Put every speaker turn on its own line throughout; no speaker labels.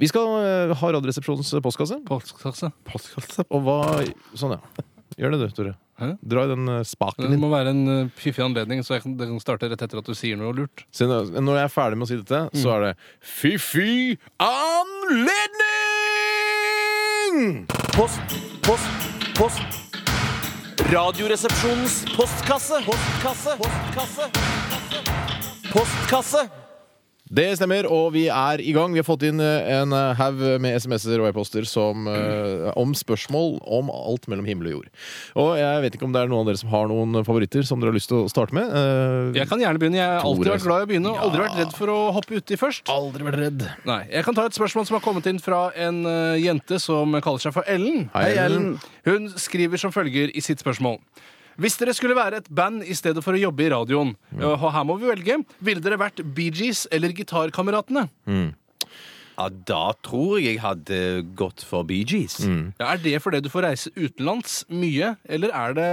Vi skal eh, ha Radioresepsjonens postkasse.
Postkasse.
Postkasse? Og hva Sånn, ja. Gjør det, du, Tore.
Hæ?
Dra i den eh, spaken
Det
din.
må være en eh, fiffig anledning, så jeg kan, det kan starte rett etter at du sier noe lurt.
Se, nå- når jeg er ferdig med å si dette, så er det fiffig anledning!
Post, post, post. Radioresepsjonens postkasse. Postkasse. Postkasse. Postkasse.
Det stemmer, og vi er i gang. Vi har fått inn eh, en eh, haug med SMS-er og e-poster som, eh, om spørsmål om alt mellom himmel og jord. Og jeg vet ikke om det er noen av dere som har noen favoritter som dere har lyst til å starte med. Eh,
Jeg kan gjerne begynne. Jeg har alltid
Tore,
vært glad i å begynne, og aldri vært redd for å hoppe uti først.
altså. Aldri vært redd.
Nei, Jeg kan ta et spørsmål som har kommet inn fra en eh, jente som kaller seg for Ellen.
Hei, Ellen.
Hun skriver som følger i sitt spørsmål. Hvis dere skulle være et band i stedet for å jobbe i radioen,
Mm.
eh, og her må vi velge, ville dere vært Bee Gees eller Gitarkameratene?
Ja, da tror jeg jeg hadde gått for Bee Gees.
Ja, er det fordi du får reise utenlands mye, eller er det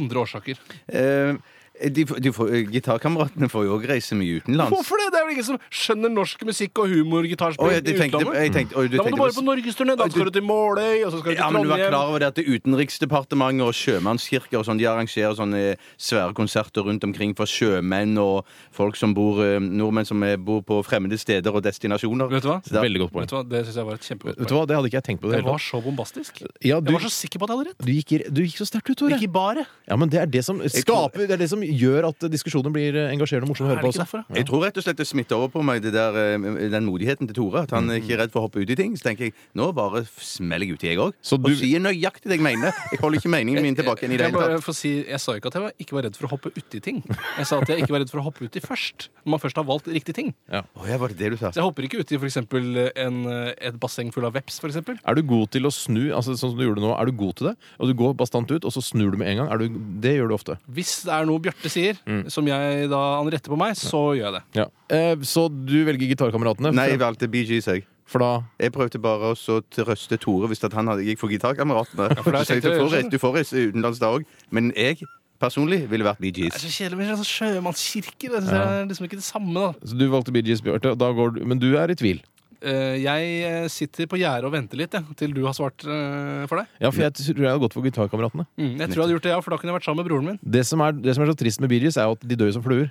andre årsaker?
Eh, de, de får, gitarkameratene får jo òg reise mye utenlands.
Hvorfor det? Det er jo ingen som skjønner norsk musikk og humorgitarspill
Å,
i
jeg tenkte,
utlandet.
jeg tenkte, oi, du
Da må
tenkte
du
på
bare på norgesturné. Da skal du til Måløy, og så skal du til
Ja, men du var
Trondheim.
klar over det at det Utenriksdepartementet og sjømannskirker og sånn, de arrangerer sånne svære konserter rundt omkring for sjømenn og folk som bor, eh, nordmenn som eh, bor på fremmede steder og destinasjoner.
Vet du hva?
Så da-
Veldig godt
Vet
poeng.
du hva? Det syns jeg var et kjempegodt
Vet
poeng.
du hva, Det hadde ikke jeg tenkt på. i Det
Det
hele
var
tatt.
så bombastisk. Jeg
Ja, du,
var så sikker på at jeg hadde rett.
du, gikk, du gikk så sterkt ut, Tore.
Ikke bare.
Ja, men det er det som
tror-
skaper Det er det som gjør at diskusjonen blir eh, engasjerende og morsom å
Er
høre
det
på
ikke
også.
derfor, da?
Jeg tror rett og slett det smitter over på meg det der, eh, den modigheten til Tore. At han er ikke er redd for å hoppe ut i ting. Så tenker jeg nå bare smeller jeg uti, jeg òg.
Så
Og
du-
sier nøyaktig det jeg mener. Jeg holder ikke meningen min tilbake igjen i det
Jeg,
hele tatt.
bare får si, jeg sa ikke at jeg var, ikke var redd for å hoppe uti ting. Jeg sa at jeg ikke var redd for å hoppe uti først. Når man først har valgt riktig ting.
Å, ja, var det det du sa?
Så jeg hopper ikke uti f.eks. et basseng full av veps, for eksempel
Er du god til å snu? Altså, sånn som du gjorde nå, er du god til det? Og du går bastant ut, og så snur du med en gang? Er du, det gjør du ofte.
Hvis det er noe Bjarte sier,
Mm.
som jeg da han retter på meg, så gjør jeg det.
Eh, så du velger Gitarkameratene?
Nei, jeg
for,
valgte Bee Gees, jeg.
for da
Jeg prøvde bare også å trøste Tore hvis at han hadde, gikk for gitarkameratene.
for det
Så
tenkte
jeg sa, du
jeg
får reise- du får reise utenlands da òg, men jeg personlig ville vært Bee
Det er
Gees.
så kjedelig med sånn sjømannskirke. Det synes jeg er liksom ikke det samme. da
så Du valgte Bee Gees, Bjarte, og da går du Men du er i tvil.
Eh, Jeg eh, sitter på gjerdet og venter litt jeg, til du har svart eh, for deg.
Ja, for jeg tror jeg hadde gått for Gitarkameratene.
Jeg tror jeg hadde gjort det, ja, for da kunne jeg vært sammen med broren min.
Det, som er- det som er så trist med Bee Gees, er jo at de dør jo som fluer.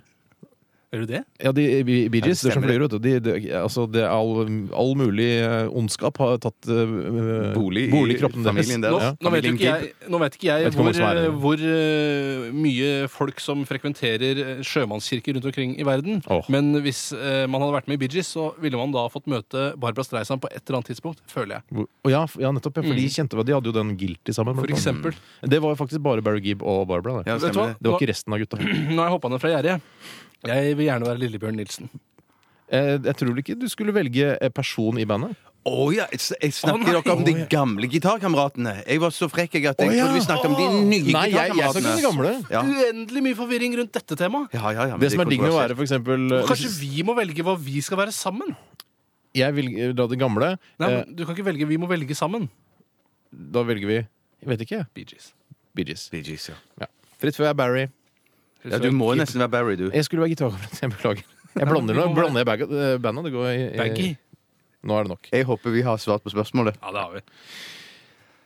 Er du det?
Ja, de, Bee Bee Gees
Ja, det
dør som
stemmer.
fluer, vet du. De, dør- altså, det er all, all mulig eh, ondskap har tatt eh,
Bolig i
bolig i kroppen deres.
familien
Nå,
deres. Ja.
nå, vet jo ikke jeg, nå vet ikke jeg
Vet ikke hvor
hvor,
mange som er
eh,
det.
hvor eh, mye folk som frekventerer eh, sjømannskirker rundt omkring i verden.
Åh.
Men hvis eh, man hadde vært med i Bee Gees, så ville man da fått møte Barbra Streisand på et eller annet tidspunkt, føler jeg.
Hvor- Og ja, f- ja, nettopp. Ja, for
Mm.
de kjente hva- De hadde jo den Guilty sammen.
For
blant annet.
eksempel.
Det var jo faktisk bare Barry Gibb og Barbara. Det.
Ja,
Vet du hva?
stemmer det.
det var ikke resten av gutta.
Nå har jeg hoppa ned fra gjerdet. Jeg vil gjerne være Lillebjørn Nilsen.
Eh, Jeg tror ikke du skulle velge eh, person i bandet.
Å ja, jeg s- jeg
Å,
snakker
nei.
dere om de gamle gitarkameratene. Jeg var så frekk jeg at jeg
Å, ja.
trodde vi snakket om de nye
Nei, jeg, jeg snakker om de
gitarkameratene.
gamle.
Ja.
Uendelig mye forvirring rundt dette temaet.
Ja, ja, ja, men
Det som er digg med å være
kontroversielt.
for eksempel eh,
Kanskje vi må velge hva vi skal være sammen?
Jeg vil eh, da det gamle.
Nei,
eh,
men Du kan ikke velge 'vi må velge sammen'.
Da velger vi Jeg vet ikke.
Bee Gees.
Bee Gees.
Bee Gees, ja.
Ja. Fritt før jeg er Barry.
ja, du må nesten være Barry, du.
Jeg skulle være gitarkamerat. Jeg beklager. Jeg blander
vi
nå.
må
Blander jeg bag- eh, bandet? Det går i, i-
Baggy.
Nå er det nok.
Jeg håper vi har svart på spørsmålet.
Ja, det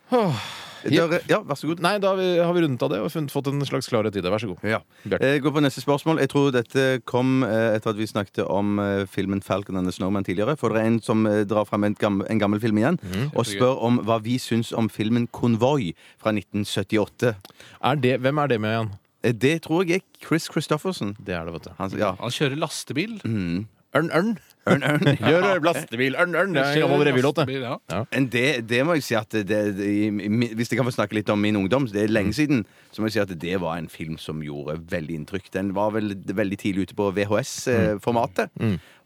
har vi.
Dere, ja, vær så god.
Nei, da har vi- har vi rundet av det og funnet, fått en slags klarhet i det. Vær så god.
Ja.
Bjarte.
Jeg går Eh, på neste spørsmål. Jeg tror dette kom eh, etter at vi snakket om eh, filmen 'Falcon and the Snowman' tidligere. For det er en som eh, drar frem en, gam en gammel film igjen
Mhm,
og spør om hva vi syns om filmen 'Konvoi' fra 1978.
Er det, hvem er det med igjen?
Eh, Det tror jeg er Chris Christofferson.
Det er det, vet du.
Han, ja.
Han kjører lastebil.
Mm. Ørn, ørn.
Ørn, ørn.
Gjør lastebil, ørn, ørn. Det er en gammel revylåt, det.
Lastebil, ja.
Men det, det må jeg si at det, det, i, mi- Hvis jeg kan få snakke litt om min ungdom, det er lenge siden, så må jeg si at det var en film som gjorde veldig inntrykk. Den var vel veldig tidlig ute på VHS-formatet,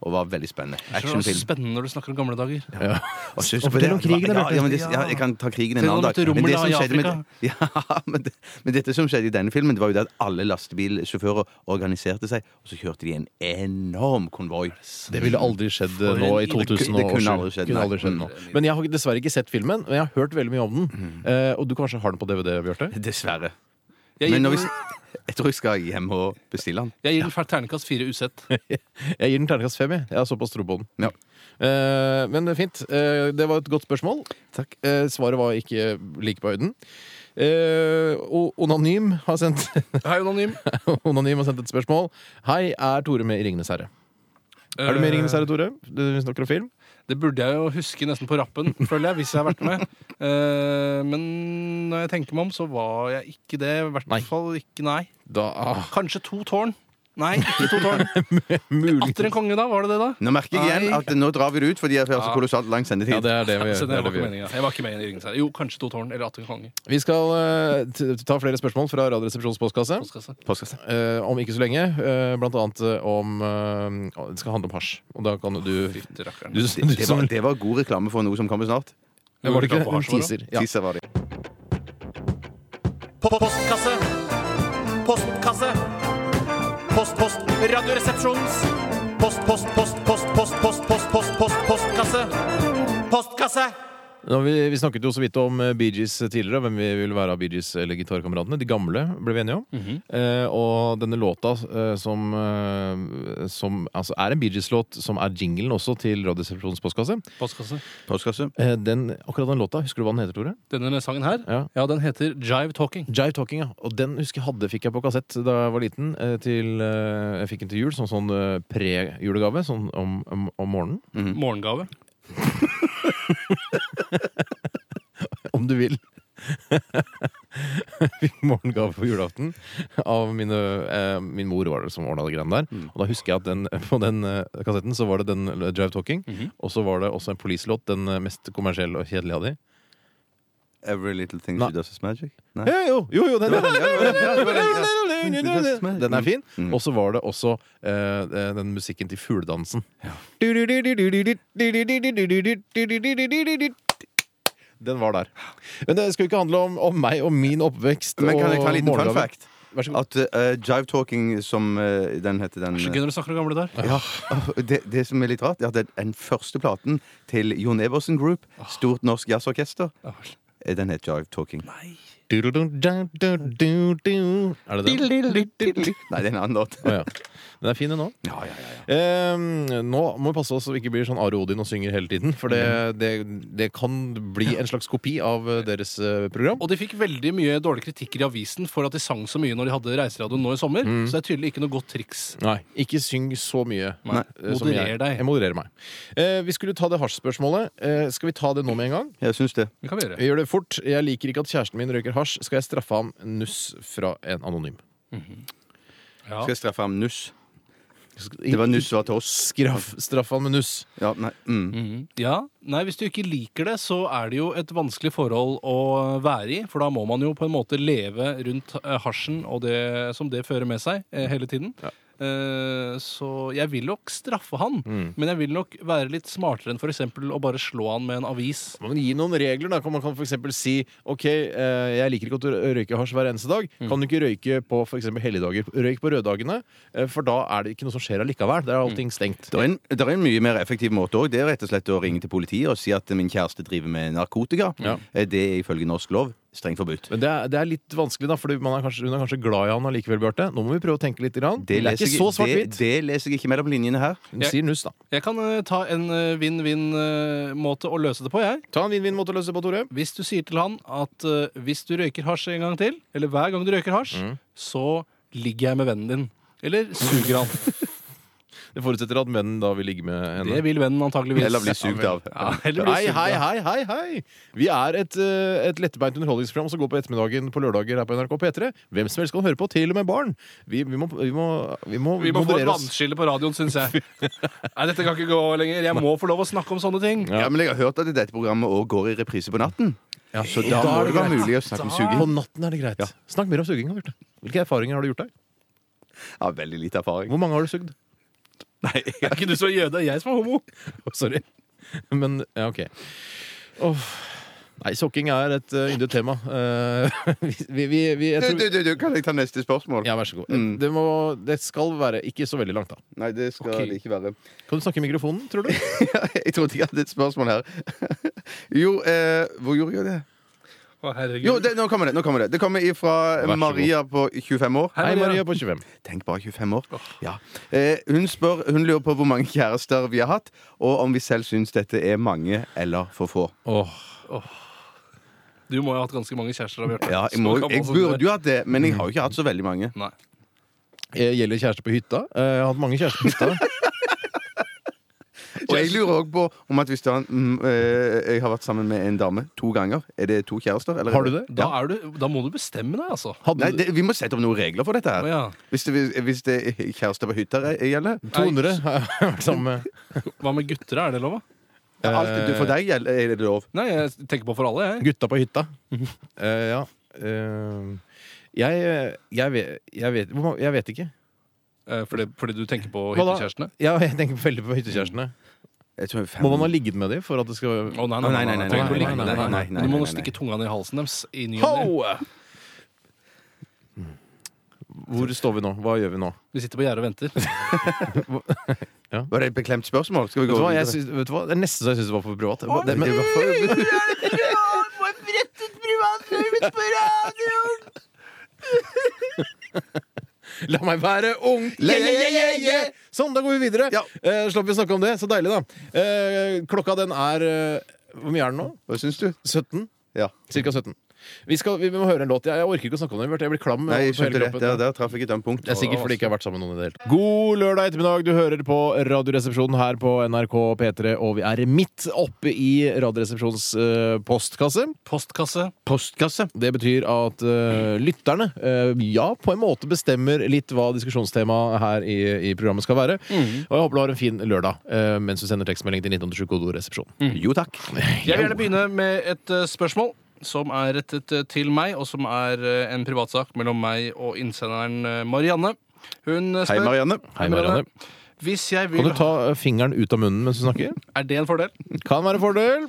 og var veldig spennende.
Det er så
Actionfilm.
spennende når du snakker om gamle dager.
Og så
Og
husker
fortell
jeg
om
på det.
krigen, da,
ja,
Bjarte.
ja, men det, ja, jeg kan ta krigen en
Fortell
annen
om
dag.
dette rommet da i
skjedde med, ja, men det, men dette som skjedde i denne filmen, det var jo det at alle lastebilsjåfører organiserte seg, og så kjørte de en enorm konvoi.
Det ville aldri skjedd eh,
For
nå
en
i
idé.
2007.
Det kunne aldri skjedd,
Kunne
nei.
aldri skjedd nå. Mm. Men jeg har dessverre ikke sett filmen, men jeg har hørt veldig mye om den. Eh, og du kanskje har den på DVD, Bjarte?
Dessverre.
Jeg gir,
Men når vi,
den,
jeg tror jeg skal hjem og bestille den.
jeg gir den fælt ternekast fire usett.
Jeg gir den terningkast fem. Jeg Jeg har såpass tro på den.
Ja.
Eh, men fint. Eh, det var et godt spørsmål.
Takk.
Eh, svaret var ikke like på høyden. Eh, og Onanym har, sendt,
Hei, anonym.
Onanym har sendt et spørsmål. Hei, er Tore med i Ringenes herre? Er du med i Ringenes herre, Tore? Du snakker om film?
Det burde jeg jo huske nesten på rappen, føler jeg, hvis jeg har vært med. Eh, men når jeg tenker meg om, så var jeg ikke det. I hvert
Nei.
fall ikke Nei.
Da ah,
Kanskje To tårn. Nei, ikke To tårn.
mulig.
Atter en konge, da? Var det det, da?
Nå merker jeg igjen
Nei.
at nå drar vi det ut, fordi jeg har så
Ja.
kolossalt lang
Ja,
sendetid.
det er det vi
Så
gjør. Det er
det var
det vi
ikke
gjør.
meningen. Jeg var ikke med i Ringenes herre. Jo, kanskje To tårn eller Atter en konge.
Vi skal eh, t- ta flere spørsmål fra Radioresepsjonens postkasse.
Postkasse.
Postkasse.
eh, om ikke så lenge. eh, blant annet eh, om eh, Det skal handle om hasj. Og da kan du du,
Fytti rakkeren.
du,
Det, det,
som,
var, det var god reklame for noe som kommer snart.
Var det ikke
På hasj,
en
var det?
teaser? Ja.
Teaser var det.
Postkasse. Postkasse. Post, post. Radioresepsjonens. Post, post, post, post, post, post, post, post, post, postkasse. Postkasse.
Nå, vi, vi snakket jo så vidt om eh, Bee Gees tidligere, og hvem vi ville være av Bee Gees eh, eller gitarkameratene. De gamle ble vi enige om. eh, og denne låta eh, som, eh, som altså er en Bee Gees-låt, som er jinglen også til Radioresepsjonens postkasse,
Postkasse.
Postkasse.
eh, den, akkurat den låta, husker du hva den heter, Tore?
Denne sangen her,
Ja.
ja, den heter Jive Talking.
Jive Talking, ja. Og den husker jeg hadde, fikk jeg på kassett da jeg var liten. eh, Til, eh, jeg fikk den til jul, sånn, sånn eh, pre-julegave, sånn om, om, om morgenen.
Morgengave.
om du vil. Fikk morgengave på julaften av mine, eh, min mor, var det som ordna de greiene der.
Mm.
Og da husker jeg at den, på den eh, kassetten så var det den eh, Drive Talking,
Mhm.
og så var det også en Police-låt, den eh, mest kommersielle og kjedelige av de.
Every little thing
Nei.
she does is magic. Nei.
Ja, jo, jo, jo, den,
Det var den, ja, det var den, ja, det var den, ja.
den er fin.
Mm.
Og så var det også eh, den musikken til fugledansen. Den var der. Men det skal jo ikke handle om, om meg og min oppvekst.
Men kan jeg ta en
og
liten fun
morgendagen.
fact?
Vær så god.
At eh, Jive Talking, som eh, den heter den
Så gøy når du snakker om gamle der.
Ja, det, det som er litt rart, er at den- den første platen til Jon Ebersen Group,
Ah.
Stort Norsk Jazzorkester, eh, den het Jive Talking. Nei,
Du-du-du-du-du-du. Er det den?
det er en annen låt.
Å, ja. Den er fin, den òg.
Ja, ja, ja, ja.
Eh, nå må vi passe oss så vi ikke blir sånn Are Odin og synger hele tiden. For det, det, det kan bli en slags kopi av eh, deres eh, program.
Og de fikk veldig mye dårlige kritikker i avisen for at de sang så mye når de hadde reiseradioen nå i sommer.
Mm.
Så det er tydelig ikke noe godt triks.
Nei, ikke syng så mye.
Nei.
eh, som
Moderer
jeg.
deg.
Jeg modererer meg. Eh, vi skulle ta det hasjspørsmålet. Eh, skal vi ta det nå med en gang?
Jeg syns det.
Det kan vi gjøre.
Vi gjør det fort. Jeg liker ikke at kjæresten min røyker hasj. Skal jeg straffe ham nuss fra en anonym?
Ja.
Skal jeg straffe ham nuss? Det var nuss var til oss.
Skraff, straff ham med nuss.
Ja, nei, mm.
Mhm. Ja, nei, Hvis du ikke liker det, så er det jo et vanskelig forhold å være i. For da må man jo på en måte leve rundt eh, hasjen og det som det fører med seg, eh, hele tiden. Eh, Så jeg vil nok straffe han, men jeg vil nok være litt smartere enn f.eks. å bare slå han med en avis.
Man kan gi noen regler. da, Man kan f.eks. si OK, eh, jeg liker ikke at du rø- røyker hasj hver eneste dag. Kan du ikke røyke på for eksempel helligdager? Røyk på røddagene, eh, for da er det ikke noe som skjer allikevel. Der er allting stengt.
Det er, en, det er en mye mer effektiv måte òg. Det er rett og slett å ringe til politiet og si at min kjæreste driver med narkotika.
Ja.
Eh, Det er ifølge norsk lov strengt forbudt.
Men det er, det er litt vanskelig, da, for hun er kanskje glad i han allikevel, Bjarte. Nå må vi prøve å tenke litt. Grann. Det, er
leser
ikke
jeg-
så
det,
svart-hvitt.
det leser jeg ikke mellom linjene her.
Hun sier nuss, da.
Jeg kan eh, ta en eh, vinn-vinn-måte å løse det på, jeg.
Ta en vinn-vinn-måte å løse det på, Tore.
Hvis du sier til han at eh, hvis du røyker hasj en gang til, eller hver gang du røyker hasj, så ligger jeg med vennen din. Eller suger han.
Det forutsetter at menn da vil ligge med henne.
Det vil vennen antageligvis.
Eller bli sugd av.
Ja, eller bli
Hei,
sugd
hei,
av.
hei, hei, hei! Vi er et, eh, et lettbeint underholdningsprogram som går på ettermiddagen på lørdager her på NRK P3. Hvem som helst kan høre på, til og med barn. Vi, vi, må, vi, må, vi må
Vi må få et
moderere oss.
vannskille på radioen, syns jeg. Nei, dette kan ikke gå lenger. Jeg må få lov å snakke om sånne ting.
Ja. Men jeg har hørt at dette programmet òg går i reprise på natten.
Ja,
Så da,
da
må
er
det
det
være
greit.
mulig å snakke om suging.
På natten er det greit. Snakk mer om suging. Bjarte. Hvilke erfaringer har du gjort deg?
Ja, veldig lite erfaring.
Hvor mange har du sugd?
Nei,
Det er ikke du som er jøde, det er jeg som er homo.
Å, Oh, Sorry. Men ja, OK. Åh. Nei, sokking er et uh, yndet tema. Eh, vi, vi, vi, jeg
du,
tror
du, du, du, kan jeg ta neste spørsmål?
Ja, vær så god.
Mm.
Det, må, det skal være ikke så veldig langt, da.
Nei, det skal
Ok.
det ikke være.
Kan du snakke i mikrofonen, tror du?
jeg trodde ikke jeg hadde et spørsmål her. jo, eh, hvor gjorde jeg det?
Å, herregud.
Jo, det, nå kommer det. nå kommer Det Det kommer
så
ifra
god.
Maria på 25 år.
Hei, Maria på 25.
Tenk bare 25 år. Ja. Eh, hun, spør, hun lurer på hvor mange kjærester vi har hatt, og om vi selv syns dette er mange eller for få.
Du må jo ha hatt ganske mange kjærester, da, Bjarte.
Ja, jeg,
Så
må,
gammel
jeg
som du er.
burde jo hatt det, men jeg har jo ikke hatt så veldig mange.
Nei.
Eh, Gjelder kjæreste på hytta? Eh, Jeg har hatt mange kjærester på hytta.
Og jeg lurer òg på om at hvis det er en, mm, eh, jeg har vært sammen med en dame to ganger, er det to kjærester? Eller?
Har du det?
Da, er du, da må du bestemme deg, altså.
Hadde
Nei,
du-
det, vi må sette opp noen regler for dette
Å,
her.
ja.
Hvis det, hvis det er kjærester på hytta re- gjelder.
200 har jeg vært sammen med.
Hva med gutter? Er det lov? da?
Alt, for deg gjelder, er det lov.
Nei, jeg tenker på for alle, jeg.
Gutta på hytta. Eh, ja. Eh, jeg, jeg, vet, jeg, vet, hvor mange- jeg vet ikke.
Eh, Fordi, fordi du tenker på
Hva da?
hyttekjærestene?
Ja, jeg tenker veldig på hyttekjærestene.
Jeg tror fem-
Må man ha ligget med dem for at det skal
Å, nei,
Å, nei, nei, nei,
Tenk på
nei,
lignende.
nei, nei,
nei, nei,
Du må
nei,
nå
nei.
stikke tunga ned i halsen deres i ny og ne.
Ho! Hvor står vi nå? Hva gjør vi nå?
Vi sitter på gjerdet og venter.
Var det et beklemt spørsmål? Skal vi
Vet
gå
du hva?
videre?
Jeg syns- vet du hva? Det er nesten så jeg syns det var for privat. Det,
Det-
men,
det var for-
La meg være ung! Yeah, yeah, yeah, yeah. Sånn, da går vi videre.
Ja.
Eh, slapp vi å snakke om det. Så deilig, da. Eh, klokka den er eh, Hvor mye er den nå?
Hva syns du?
17?
Ja.
Cirka 17. Vi, skal, vi må høre en låt. Jeg, jeg orker ikke å snakke om den. Bjarte. Jeg blir klam.
Nei, jeg
på hele
skjønte det.
kroppen.
Der, der traff jeg et ømt punkt.
Det er sikkert fordi jeg ikke har vært sammen med noen i det hele tatt. God lørdag ettermiddag. Du hører på Radioresepsjonen her på NRK P3, og vi er midt oppe i Radioresepsjonens eh, postkasse.
Postkasse.
Postkasse.
Det betyr at eh, lytterne eh, ja, på en måte bestemmer litt hva diskusjonstemaet her i, i programmet skal være. Og jeg håper du har en fin lørdag eh, mens du sender tekstmelding til 1987 kodoresepsjon.
Jo takk.
Jeg vil gjerne begynne med et eh, spørsmål som er rettet eh, til meg, og som er eh, en privatsak mellom meg og innsenderen eh, Marianne. Hun eh,
Hei,
spør
Marianne.
Hei, Marianne.
Hvis jeg
Kan
vil
du ta eh, fingeren ut av munnen mens du snakker?
Er det en fordel?
Kan være en fordel.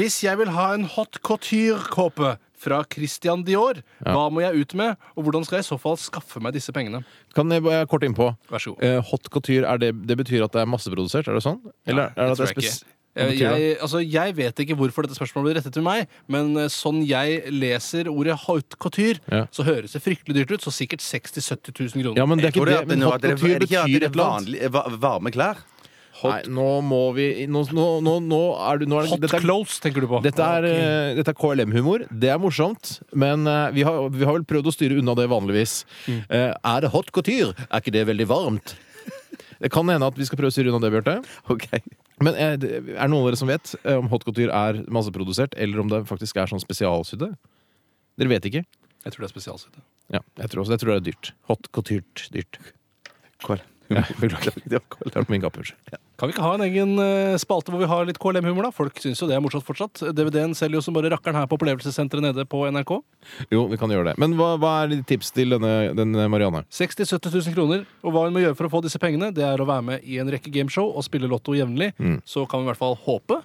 Hvis jeg vil ha en hot couture-kåpe fra Christian Dior, hva må jeg ut med, og hvordan skal jeg i så fall skaffe meg disse pengene?
Kan jeg bare kort innpå?
Vær så god.
Eh, hot couture, er det, det betyr at det er masseprodusert? Er det sånn? Eller er det at det er
tror jeg
spes...
ikke.
Hva
Eh,
betyr det?
Jeg, altså, jeg vet ikke hvorfor dette spørsmålet ble rettet til meg, men eh, sånn jeg leser ordet haute couture,
Ja.
så høres det fryktelig dyrt ut. Så sikkert 60 000-70 000 kroner.
Ja, men det er ikke
Tror du
det.
at det
Men
nå-
hot
at det-
couture
er det ikke at
betyr et
det er
eller annet.
vanlig- va- varme klær?
Nei, nå må vi Nå, nå, nå, nå er du nå er,
Hot
dette, er,
clothes, tenker du på.
dette er, eh, dette er KLM-humor. Det er morsomt, men eh, vi har, vi har vel prøvd å styre unna det vanligvis. Eh, er det hot couture? Er ikke det veldig varmt? Det kan hende at vi skal prøve å styre unna det, Bjarte.
Ok.
Men eh, det- er det noen av dere som vet eh, om hot couture er masseprodusert, eller om det faktisk er sånn spesialsydde? Dere vet ikke?
Jeg tror det er spesialsydd.
Ja, jeg tror også Jeg tror det er dyrt. Hot couture dyrt.
Kål.
Ja, beklager. Det
Det var kål.
var på min kappe, unnskyld.
Kan vi ikke ha en egen eh, spalte hvor vi har litt KLM-humor, da? Folk syns jo det er morsomt fortsatt. DVD-en selger jo som bare rakkeren her på opplevelsessenteret nede på NRK.
Jo, vi kan gjøre det. Men hva, hva er ditt tips til denne, denne Marianne?
60 000-70 000 kroner. Og hva hun må gjøre for å få disse pengene, det er å være med i en rekke gameshow og spille Lotto jevnlig.
Mm.
Så kan vi i hvert fall håpe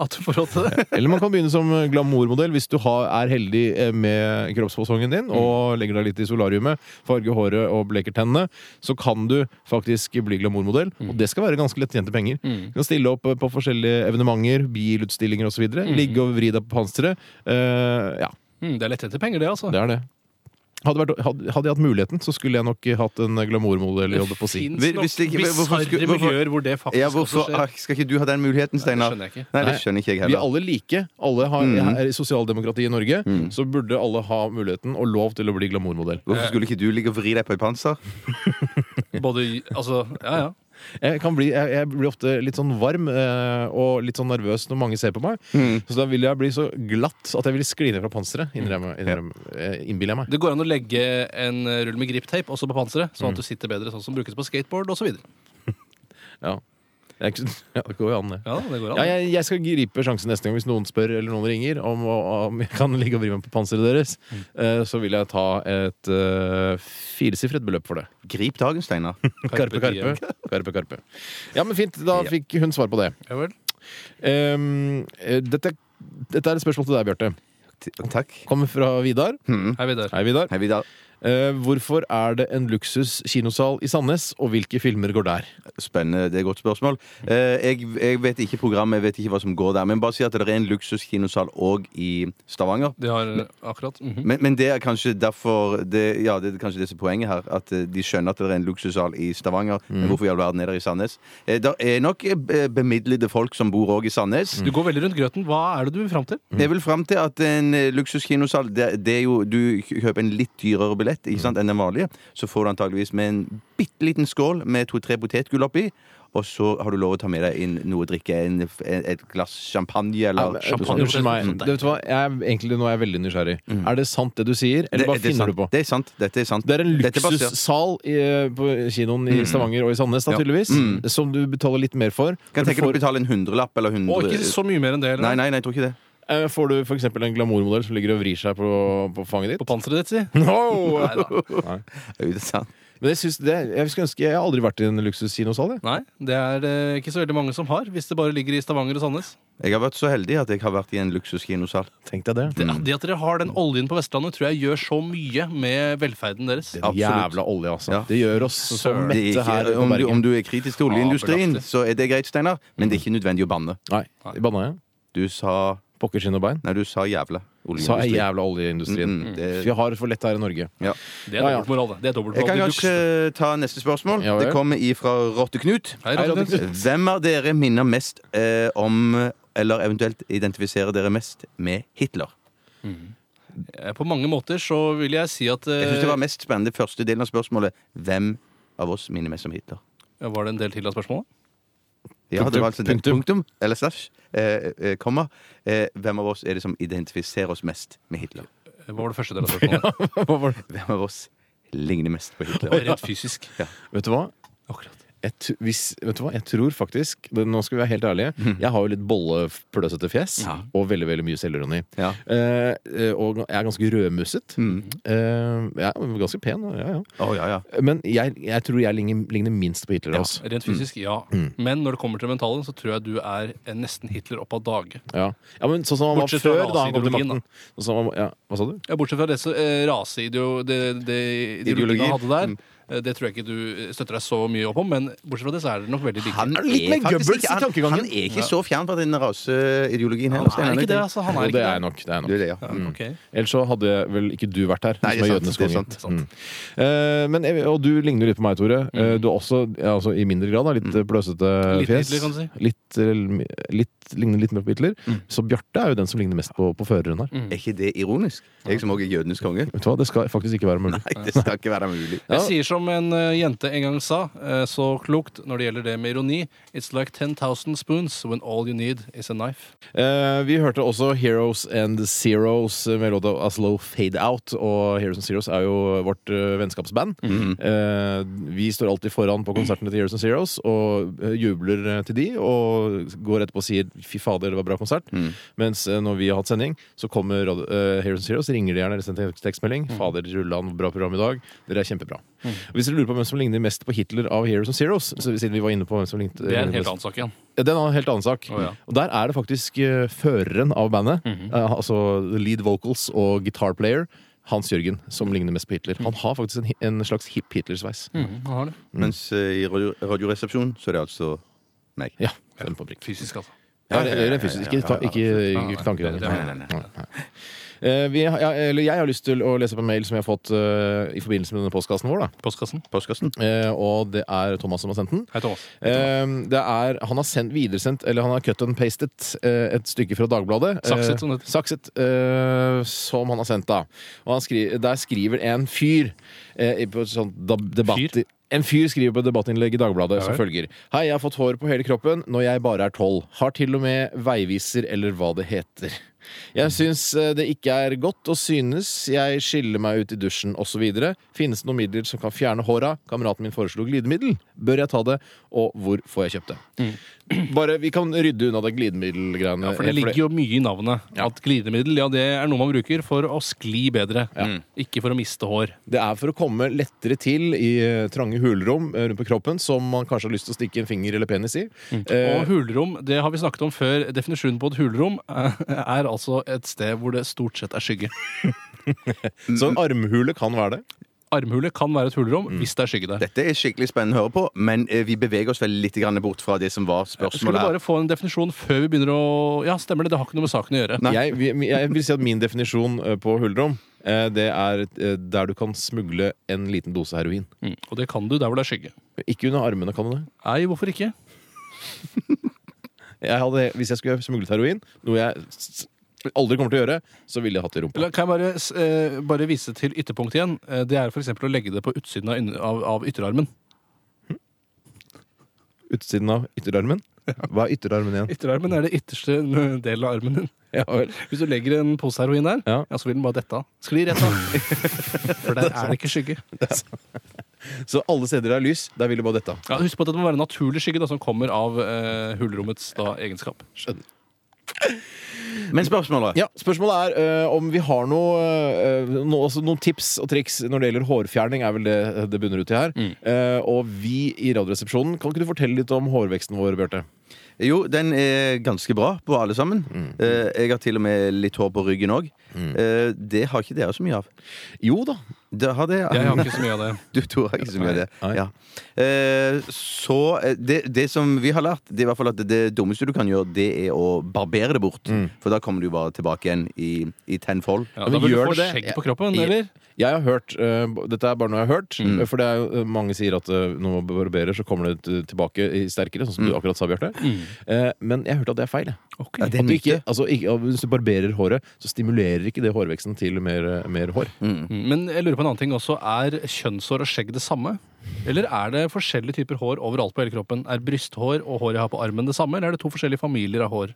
at hun får råd til det.
Eller man kan begynne som glamourmodell hvis du har, er heldig eh, med kroppsfasongen din og legger deg litt i solariumet, farger håret og bleker tennene. Så kan du faktisk bli glamourmodell, og det skal være ganske lettjente penger. Du kan stille opp eh, på forskjellige evenementer, bilutstillinger osv. videre Ligge og vri deg på panseret. Eh, ja,
Mm, det er lett etter penger, det, altså.
det er det. Hadde, vært, hadde, hadde jeg hatt muligheten, så skulle jeg nok hatt en glamourmodell. holdt jeg på å si.
Fins
Hvis-
nok
hvis det ikke- hvorfor
bisarre
skulle- hvorfor-
miljøer hvor det faktisk
Ja,
også
hvorfor
skjer.
ah, skal ikke du ha den muligheten, Steinar?
skjønner jeg ikke.
Nei, det
Nei.
skjønner ikke jeg
Vi er
heller.
alle like. Alle har, er i sosialdemokrati i Norge. Så burde alle ha muligheten og lov til å bli glamourmodell.
Hvorfor skulle ikke du ligge og vri deg på et panser?
Både Altså, ja ja.
Jeg, kan bli, jeg, jeg blir ofte litt sånn varm eh, og litt sånn nervøs når mange ser på meg. Så da vil jeg bli så glatt at jeg vil skli ned fra panseret, innrømmer- innrømmer- eh, innbiller jeg meg.
Det går an å legge en rull med griptape også på panseret, sånn at du sitter bedre, sånn som brukes på skateboard osv.
Ja. Jeg, ja, det går jo an, det.
Ja, det går an.
Ja, jeg, jeg skal gripe sjansen neste gang hvis noen spør eller noen ringer om, om jeg kan ligge og vri meg på panseret deres. Eh, så vil jeg ta et uh, firesifret beløp for det.
Grip dagen, Steinar.
Karpe, karpe. karpe, karpe. Ja, men fint. Da fikk hun svar på det.
Ja vel.
Ehm, eh, dette, dette er et spørsmål til deg, Bjarte.
Takk.
Kommer fra Vidar.
Hei, Vidar.
Hei, Vidar.
Hei, Vidar.
Eh, hvorfor er det en luksus kinosal i Sandnes, og hvilke filmer går der?
Spennende. Det er et godt spørsmål. Eh, Jeg, jeg vet ikke programmet, jeg vet ikke hva som går der. Men bare si at det er en luksuskinosal òg i Stavanger.
De har akkurat mhm.
Men, men det er kanskje derfor det, Ja, det er kanskje det som er poenget her. At eh, de skjønner at det er en luksussal i Stavanger.
Mm.
Men hvorfor i all verden er det i Sandnes? Det er nok eh, be- bemidlede folk som bor òg i Sandnes.
Mm,
Du går veldig rundt grøten. Hva er det du vil fram til?
Jeg vil fram til at en eh, luksuskinosal det, det er jo, Du k- kjøper en litt dyrere billett
Mm.
ikke sant, enn den vanlige. Så får du antageligvis med en bitte liten skål med to-tre potetgull oppi. Og så har du lov å ta med deg inn noe å drikke. En, en, et glass champagne eller noe sånt.
champagne.
Eh, Unnskyld meg. Det, vet du hva? Jeg er, egentlig, nå er jeg veldig nysgjerrig. Er det sant, det du sier,
Det-
eller hva
det er
finner
sant.
du på?
Det er sant. Dette er sant.
Det er en
Dette basert-
luksussal i, eh, på kinoen i Stavanger og i Sandnes, da,
Ja. Mm.
tydeligvis, som du betaler litt mer for.
Kan
du
tenke deg å
får,
betale en hundrelapp eller hundre
Og ikke så mye mer enn det. eller?
Nei, nei, nei, jeg tror ikke det.
eh, får du f.eks. en glamourmodell som ligger og vrir seg på, på fanget
På
ditt?
panseret ditt, si.
No!
Nei da.
Er det sant?
Men jeg, syns det, jeg skulle ønske Jeg har aldri vært i en luksuskinosal. jeg.
Nei, det er det ikke så veldig mange som har, hvis det bare ligger i Stavanger og Sandnes.
Jeg har vært så heldig at jeg har vært i en luksuskinosal.
Tenk deg det.
Det, det at dere har den oljen på Vestlandet, tror jeg gjør så mye med velferden deres.
Den Jævla olje, altså.
Ja.
Det gjør oss så
Søren,
Det er
mette her
ikke,
på
om, du, om
Bergen.
du er kritisk til oljeindustrien, så er det greit, Steinar, men det er ikke nødvendig å banne.
Nei, i banna jeg.
Du sa
Pokker skinn og bein.
Nei, du sa jævla.
Sa jeg
Oljeindustri.
jævla oljeindustrien.
Mm, mm, det-
Vi har for lett her i Norge.
Ja.
Det er
Ja, ja.
dobbeltmoral, det. det. er dobbeltmoral.
Jeg kan
Det
kanskje ta neste spørsmål.
Ja vel.
Det kommer ifra Rotte-Knut. Eh,
Hei, Rotte Knut.
Hvem av dere minner mest eh, om eller eventuelt identifiserer dere mest med Hitler?
lukter- Eh, På mange måter så vil jeg si at eh,
Jeg synes det
var,
var mest spennende første delen av spørsmålet. Hvem av oss minner mest om Hitler?
var det en del til av spørsmålet?
Ja, det var altså det.
Punktum.
Punktum. Eller slash. Eh, eh, komma. Eh, hvem av oss er det som identifiserer oss mest med Hitler?
Eh, Hva var det første del av spørsmålet?
Hva var det?
Hvem av oss ligner mest på Hitler?
Rent fysisk.
Vet du hva?
Akkurat.
Jeg, t hvis, vet du hva? jeg tror faktisk det, Nå skal vi være helt ærlige. Jeg har jo litt bollepløsete fjes
Ja.
og veldig veldig mye selvironi.
Ja.
Eh, eh, og jeg er ganske rødmusset. Eh, jeg er ganske pen. Ja, ja.
Å, ja, ja.
Men jeg, jeg tror jeg ligner, ligner minst på Hitler. Altså.
Rent fysisk, ja. Men når det kommer til det mentale, så tror jeg du er en nesten Hitler opp av dage.
Ja. ja, men Sånn som han var
Bortsett fra
før da han kom til
raseideologien, da.
makten. Sånn som han, var- ja, hva sa du?
Ja, bortsett fra det så, eh, raseideologien det, det, ideologien han hadde der. eh, Det tror jeg ikke du støtter deg så mye opp om, men bortsett fra det så er dere nok veldig like.
Han
Er det litt mer
faktisk
Goebbels i
ikke- han-
tankegangen?
Han er ikke så fjern fra den raseideologien heller.
Han er ikke det, altså. Han
Jo,
er
det
ikke
er jeg
det.
nok. Det er jeg nok.
Du er det, ja. Mm.
Ja, ok.
Ellers så hadde vel ikke du vært her.
Nei, det er
som
sant,
jødenes
det er
konge.
sant, det er sant. Mm.
Mm. Eh, men, jeg- og du ligner jo litt på meg, Tore. Eh, du er også ja, altså, i mindre grad da, litt eh, pløsete
Litt
fjes.
Hitler, kan du si.
Litt, eh, litt, ligner litt mer på Hitler.
Mm.
Så Bjarte er jo den som ligner mest på, på føreren her.
Er ikke det ironisk? Jeg som også er jødenes konge.
Vet du hva, Det skal faktisk ikke være mulig.
Nei, det skal ikke være mulig.
Ja.
Jeg sier som en eh, jente en gang sa, eh, så klokt når det gjelder det med ironi It's like 10,000 spoons when all you need is a knife.
Eh, vi hørte også Heroes and Zeros eh, med låta A Slow Fade Out. Og Heroes and Zeros er jo vårt eh, vennskapsband.
Mhm.
Eh, vi står alltid foran på konsertene til Heroes and Zeros og eh, jubler eh, til de og går etterpå og sier 'fy fader, det var bra konsert'.
Mhm.
Mens eh, når vi har hatt sending, så kommer radio- eh, Heroes and Zeros, ringer de gjerne eller sender tek- tekstmelding.
Mhm.
'Fader, Rulland, bra program i dag. Dere er kjempebra'. Og Hvis dere lurer på hvem som ligner mest på Hitler av Heroes and Zeros, så, siden vi var inne på hvem som lignet, eh,
Det er en
lignet
helt
mest-
annen sak igjen.
ja, Det er en helt annen sak.
Å, ja.
Og der er det faktisk eh, føreren av bandet, eh, altså lead vocals og guitar player, Hans Jørgen, som ligner mest på Hitler. Han har faktisk en, hi- en slags hipp Hitler-sveis.
Han har det.
Mens eh, i radio- Radioresepsjonen så er det altså meg.
Ja, den på prikk.
Fysisk, altså.
Ja, det er fysisk. Ikke, ta, ikke, ikke tanker om det.
Nei, nei,
Eh, Vi, har- ja, eller jeg har lyst til å lese opp en mail som jeg har fått eh, i forbindelse med denne postkassen vår. Da.
Postkassen.
Postkassen.
Eh, Og det er Thomas som har sendt den.
Hei, Thomas.
Eh, Det er, han har sendt, videresendt, eller han har cut and pasted eh, et stykke fra Dagbladet. Eh,
Sakset, som det heter.
Sakset, eh, som han har sendt, da. Og han skri, der skriver en fyr eh, i- på et sånt da- debatt...
Fyr?
En fyr skriver på et debattinnlegg i Dagbladet
Ja
som
vel.
følger. Hei, jeg har fått hår på hele kroppen når jeg bare er tolv. Har til og med veiviser eller hva det heter. Jeg syns eh, det ikke er godt å synes. Jeg skiller meg ut i dusjen osv. Finnes det noen midler som kan fjerne håra? Kameraten min foreslo glidemiddel. Bør jeg ta det, og hvor får jeg kjøpt det? Bare, Vi kan rydde unna det glidemiddelgreiene.
Mm. Ja, for det ligger jo mye i navnet. At glidemiddel ja, det er noe man bruker for å skli bedre. Mm. Ikke for å miste hår.
Det er for å komme lettere til i eh, trange hulrom eh, rundt på kroppen som man kanskje har lyst til å stikke en finger eller penis i. Eh,
Mm. Og hulrom, det har vi snakket om før. Definisjonen på et hulrom eh, er altså et sted hvor det stort sett er skygge.
så en armhule kan være det.
armhule kan være et hulrom hvis Mm. det er skygge der.
Dette er skikkelig spennende å høre på, men eh, vi beveger oss vel litt grann bort fra det som var
Jeg skulle
spørsmålet. her.
bare få en definisjon før vi begynner å Ja, stemmer det. Det har ikke noe med saken å gjøre.
Nei.
Jeg, vi- jeg vil si at min definisjon eh, på hulrom eh, det er eh, der du kan smugle en liten dose heroin.
Mm. Og det kan du der hvor det er skygge.
Ikke under armene, kan du det?
Nei, hvorfor ikke?
Jeg hadde, hvis jeg skulle smuglet heroin, noe jeg s- s- aldri kommer til å gjøre, så ville jeg hatt det i rumpa.
Eller kan jeg bare, s- eh, bare vise til ytterpunkt igjen? Eh, Det er for eksempel å legge det på utsiden av, inn- av, av ytterarmen.
Utsiden av ytterarmen. Hva er ytterarmen igjen?
Ytterarmen er det ytterste eh, delen av armen din.
Ja vel.
Hvis du legger en pose heroin der,
Ja.
ja. så vil den bare dette av. Skli rett av. For der er det ikke skygge.
Så alle steder det er lys, der vil du bare dette.
Ja, husk på at det må være en naturlig skygge da, som kommer av eh, hulrommets da, egenskap.
Men spørsmålet
Ja, Spørsmålet er eh, om vi har noe, eh, noe, altså noen tips og triks når det gjelder hårfjerning. er vel det det bunner ut i her. Eh, og vi i Radioresepsjonen, kan ikke du fortelle litt om hårveksten vår, Bjarte?
Jo, den er ganske bra på alle sammen.
Mm.
Eh, Jeg har til og med litt hår på ryggen òg. Det har ikke dere så mye av.
Jo da.
Det har det, ja.
Jeg har ikke så mye av det.
Du tror jeg ikke så mye av det.
Nei.
Ja. Eh, så eh, det, det som vi har lært, det er i hvert fall at det dummeste du kan gjøre, det er å barbere det bort. For da kommer du bare tilbake igjen i, i tenfold.
Mm. Ja,
men
da vil du
gjør
få
det.
skjegg på kroppen,
Jeg-
eller?
Jeg har hørt, eh, b- Dette er bare noe jeg har hørt,
Mm.
for det er jo, eh, mange sier at eh, når man barberer, så kommer det t- tilbake i sterkere, sånn som du akkurat sa, Bjarte. Eh, men jeg har hørt at det er feil. jeg.
Ok.
Ja, det Mm. er
At du ikke,
myte.
altså, ikke, hvis du barberer håret, så stimulerer ikke det hårveksten til mer, eh, mer hår.
Mm, Men jeg lurer på en annen ting også. Er kjønnshår og skjegg det samme? Eller er det forskjellige typer hår overalt på hele kroppen? Er brysthår og hår jeg har på armen det samme, eller er det to forskjellige familier av hår?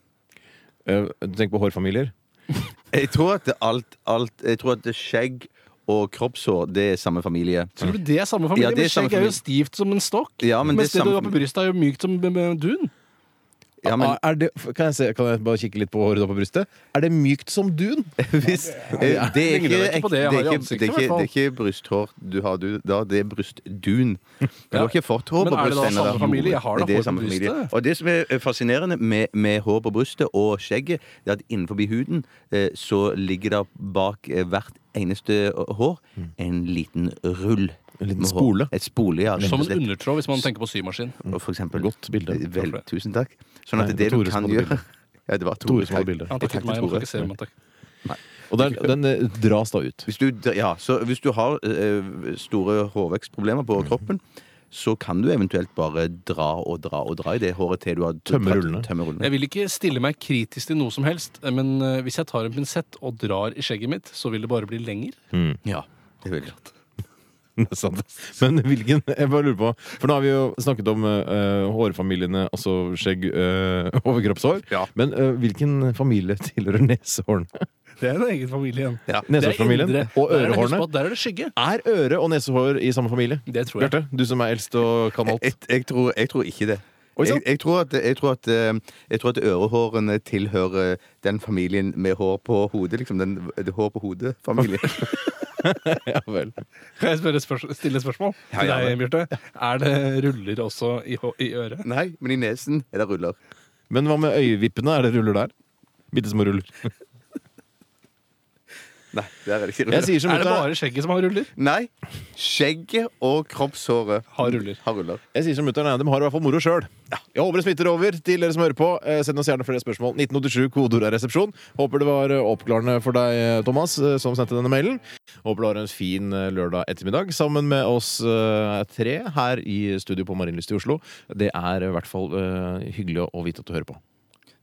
Eh, du tenker på hårfamilier?
Jeg tror at det alt, alt Jeg tror at det skjegg og kroppshår, det er samme familie.
Tror du det er samme familie?
Ja, det
men
er samme
skjegg er jo
familie.
stivt som en stokk.
Ja, men
mens
det
det,
er
du
samme
har på brystet, er jo mykt som b- b- dun.
Ja, men
Ah, er det, kan, jeg se, kan jeg bare kikke litt på håret da på brystet? Er det mykt som dun?
hvis eh, Det
ligner
er ikke,
jo ikke på det jeg
det er
har i
ikke-
ansiktet,
det
i
er ikke,
hvert
det er ikke brysthår du har du, da, det er brystdun. Du har ikke fått hår
Men
på
er det da
brystet ennå.
samme familie? Jeg har da
Det er
hår på
samme familie.
brystet.
Og det som er eh, fascinerende med, med hår på brystet og skjegget, det er at innenfor huden eh, så ligger det bak eh, hvert eneste eh, hår
Mm.
en liten rull.
En liten
med hår.
spole.
Et spole, ja. rett
Som
og
en
slett.
undertråd, hvis man tenker på symaskin.
For eksempel.
Godt bilde.
Eh,
Takk
Vel,
for det.
tusen takk. Sånn
Nei,
at det
det var Tore
du
som
kan
hadde
gjøre
bildet.
Ja, det var Tore.
Tore som hadde
Takk.
bildet.
Han
Jeg
takket
takker
meg, jeg må
Tore.
ikke se meg, takk.
Og der, den eh, dras da ut.
Hvis du, ja, så hvis du har eh, store hårvekstproblemer på kroppen, så kan du eventuelt bare dra og dra og dra i det håret til du har
Tømme rullene.
Tømme rullene.
Jeg vil ikke stille meg kritisk til noe som helst, men eh, hvis jeg tar en pinsett og drar i skjegget mitt, så vil det bare bli lenger.
Ja, det vil jeg.
Det er sant. Men hvilken Jeg bare lurer på For nå har vi jo snakket om eh, hårfamiliene, altså skjegg, eh, overkroppshår.
Ja.
Men eh, hvilken familie tilhører nesehårene?
Det er en egen familie igjen.
Nesehårsfamilien og ørehårene.
Der er det skygge.
Er øre og nesehår i samme familie?
Det tror jeg.
Bjarte, du som er eldst og kan alt.
Jeg, jeg, tror, jeg tror ikke det.
Oi, sant.
Jeg, jeg, tror at, jeg, tror at, eh, jeg tror at ørehårene tilhører den familien med hår på hodet. Liksom den det hår på hodet-familien.
Ja vel.
Kan jeg spørre et spørs- stille et spørsmål til
ja,
deg, Bjarte? Er det ruller også i, hå- i øret?
Nei, men i nesen er det ruller.
Men hva med øyevippene? Er det ruller der? Bitte små ruller.
Nei, der er det ikke
Jeg
ruller.
sier som
Er det
mutter'n.
bare skjegget som har ruller?
Nei. Skjegget og kroppshåret
Har ruller.
Har ruller.
Jeg sier som mutteren, nei, De har i hvert fall moro sjøl. Jeg håper det smitter over til dere som hører på. Eh, Send oss gjerne flere spørsmål. 1987, kodeord er resepsjon. Håper det var eh, oppklarende for deg, eh, Thomas, eh, som sendte denne mailen. Håper du har en fin eh, lørdag ettermiddag sammen med oss eh, tre her i studio på Marienlyst i Oslo. Det er eh, i hvert fall eh, hyggelig å- å vite at du hører på.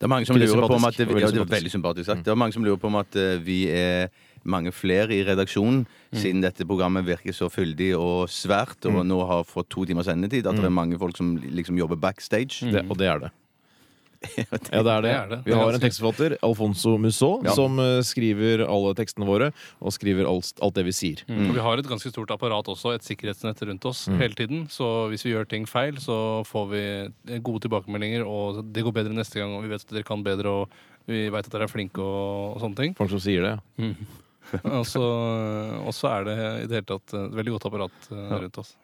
Det er mange som
Veldig
lurer på om at
sympatisk.
det,
Veldig
ja, det var
sympatisk. Mm.
veldig sympatisk sagt. Det er mange som lurer på om at eh, vi er mange flere i redaksjonen,
Mm.
siden dette programmet virker så fyldig og svært, og nå har fått to timers sendetid, at det er mange folk som liksom jobber backstage.
Mm. Det, og det er det. Ja, det er det.
Mm. Det er det.
Vi
Det er
har en
ganske-
tekstforfatter, Alfonso Musso, som eh, skriver alle tekstene våre, og skriver alt, alt det vi sier.
Og vi har et ganske stort apparat også, et sikkerhetsnett rundt oss hele tiden. Så hvis vi gjør ting feil, så får vi gode tilbakemeldinger, og det går bedre neste gang, og vi vet at dere kan bedre, og vi veit at dere er flinke og, og sånne ting.
Folk som sier det.
Og så og så er det i det hele tatt et veldig godt apparat eh, rundt oss.